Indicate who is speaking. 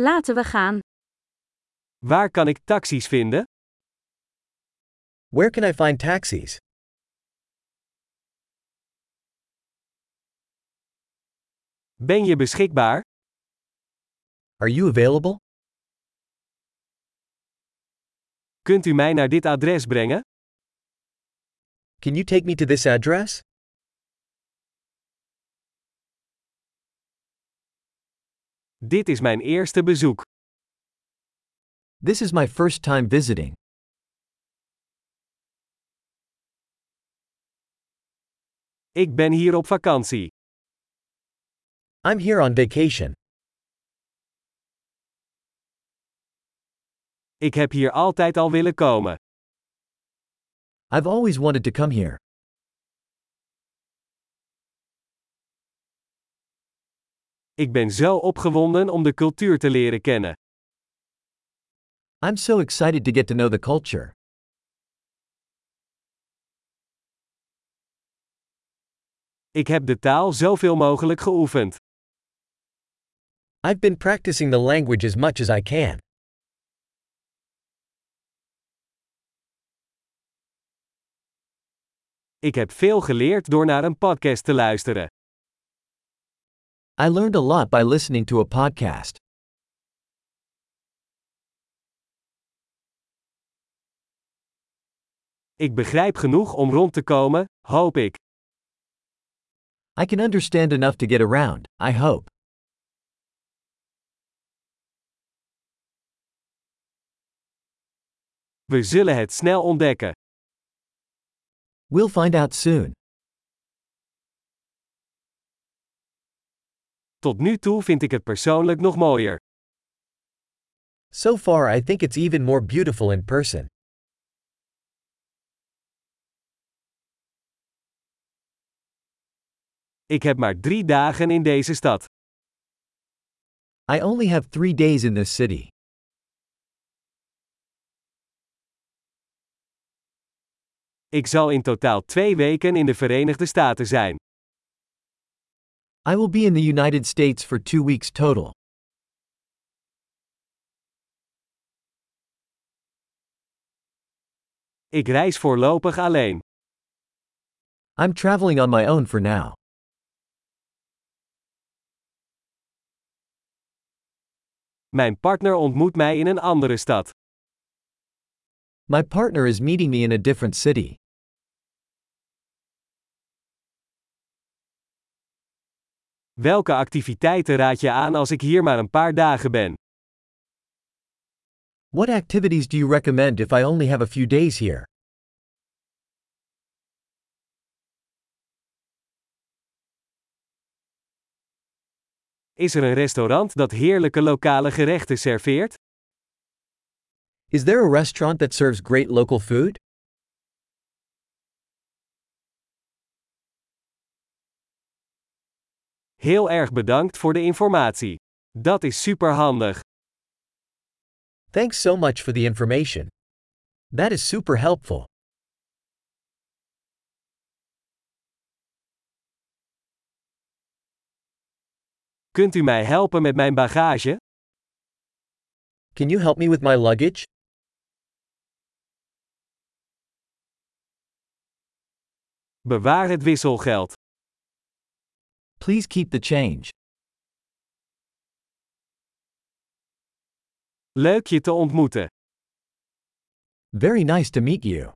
Speaker 1: Laten we gaan.
Speaker 2: Waar kan ik taxis vinden?
Speaker 3: Where can I find taxis?
Speaker 2: Ben je beschikbaar?
Speaker 3: Are you available?
Speaker 2: Kunt u mij naar dit adres brengen?
Speaker 3: Can you take me to this address?
Speaker 2: Dit is mijn eerste bezoek.
Speaker 3: This is my first time visiting.
Speaker 2: Ik ben hier op vakantie.
Speaker 3: I'm here on vacation.
Speaker 2: Ik heb hier altijd al willen komen.
Speaker 3: I've always wanted to come here.
Speaker 2: Ik ben zo opgewonden om de cultuur te leren kennen.
Speaker 3: I'm so excited to get to know the culture.
Speaker 2: Ik heb de taal zoveel mogelijk geoefend.
Speaker 3: I've been practicing the language as much as I can.
Speaker 2: Ik heb veel geleerd door naar een podcast te luisteren.
Speaker 3: I learned a lot by listening to a podcast.
Speaker 2: Ik begrijp genoeg om rond te komen, hoop ik.
Speaker 3: I can understand enough to get around, I hope.
Speaker 2: We zullen het snel ontdekken.
Speaker 3: We'll find out soon.
Speaker 2: Tot nu toe vind ik het persoonlijk nog mooier.
Speaker 3: So far, I think it's even more beautiful in person.
Speaker 2: Ik heb maar drie dagen in deze stad.
Speaker 3: I only have three days in this city.
Speaker 2: Ik zal in totaal twee weken in de Verenigde Staten zijn.
Speaker 3: I will be in the United States for two weeks total.
Speaker 2: Ik reis voorlopig alleen.
Speaker 3: I'm traveling on my own for now.
Speaker 2: Mijn partner ontmoet mij in een andere stad.
Speaker 3: My partner is meeting me in a different city.
Speaker 2: Welke activiteiten raad je aan als ik hier maar een paar dagen ben?
Speaker 3: What activities do you recommend if I only have a few days here?
Speaker 2: Is er een restaurant dat heerlijke lokale gerechten serveert?
Speaker 3: Is there a restaurant that serves great local food?
Speaker 2: Heel erg bedankt voor de informatie. Dat is superhandig.
Speaker 3: Thanks so much for the information. That is super helpful.
Speaker 2: Kunt u mij helpen met mijn bagage?
Speaker 3: Can you help me with my luggage?
Speaker 2: Bewaar het wisselgeld.
Speaker 3: Please keep the change.
Speaker 2: Leuk je te ontmoeten.
Speaker 3: Very nice to meet you.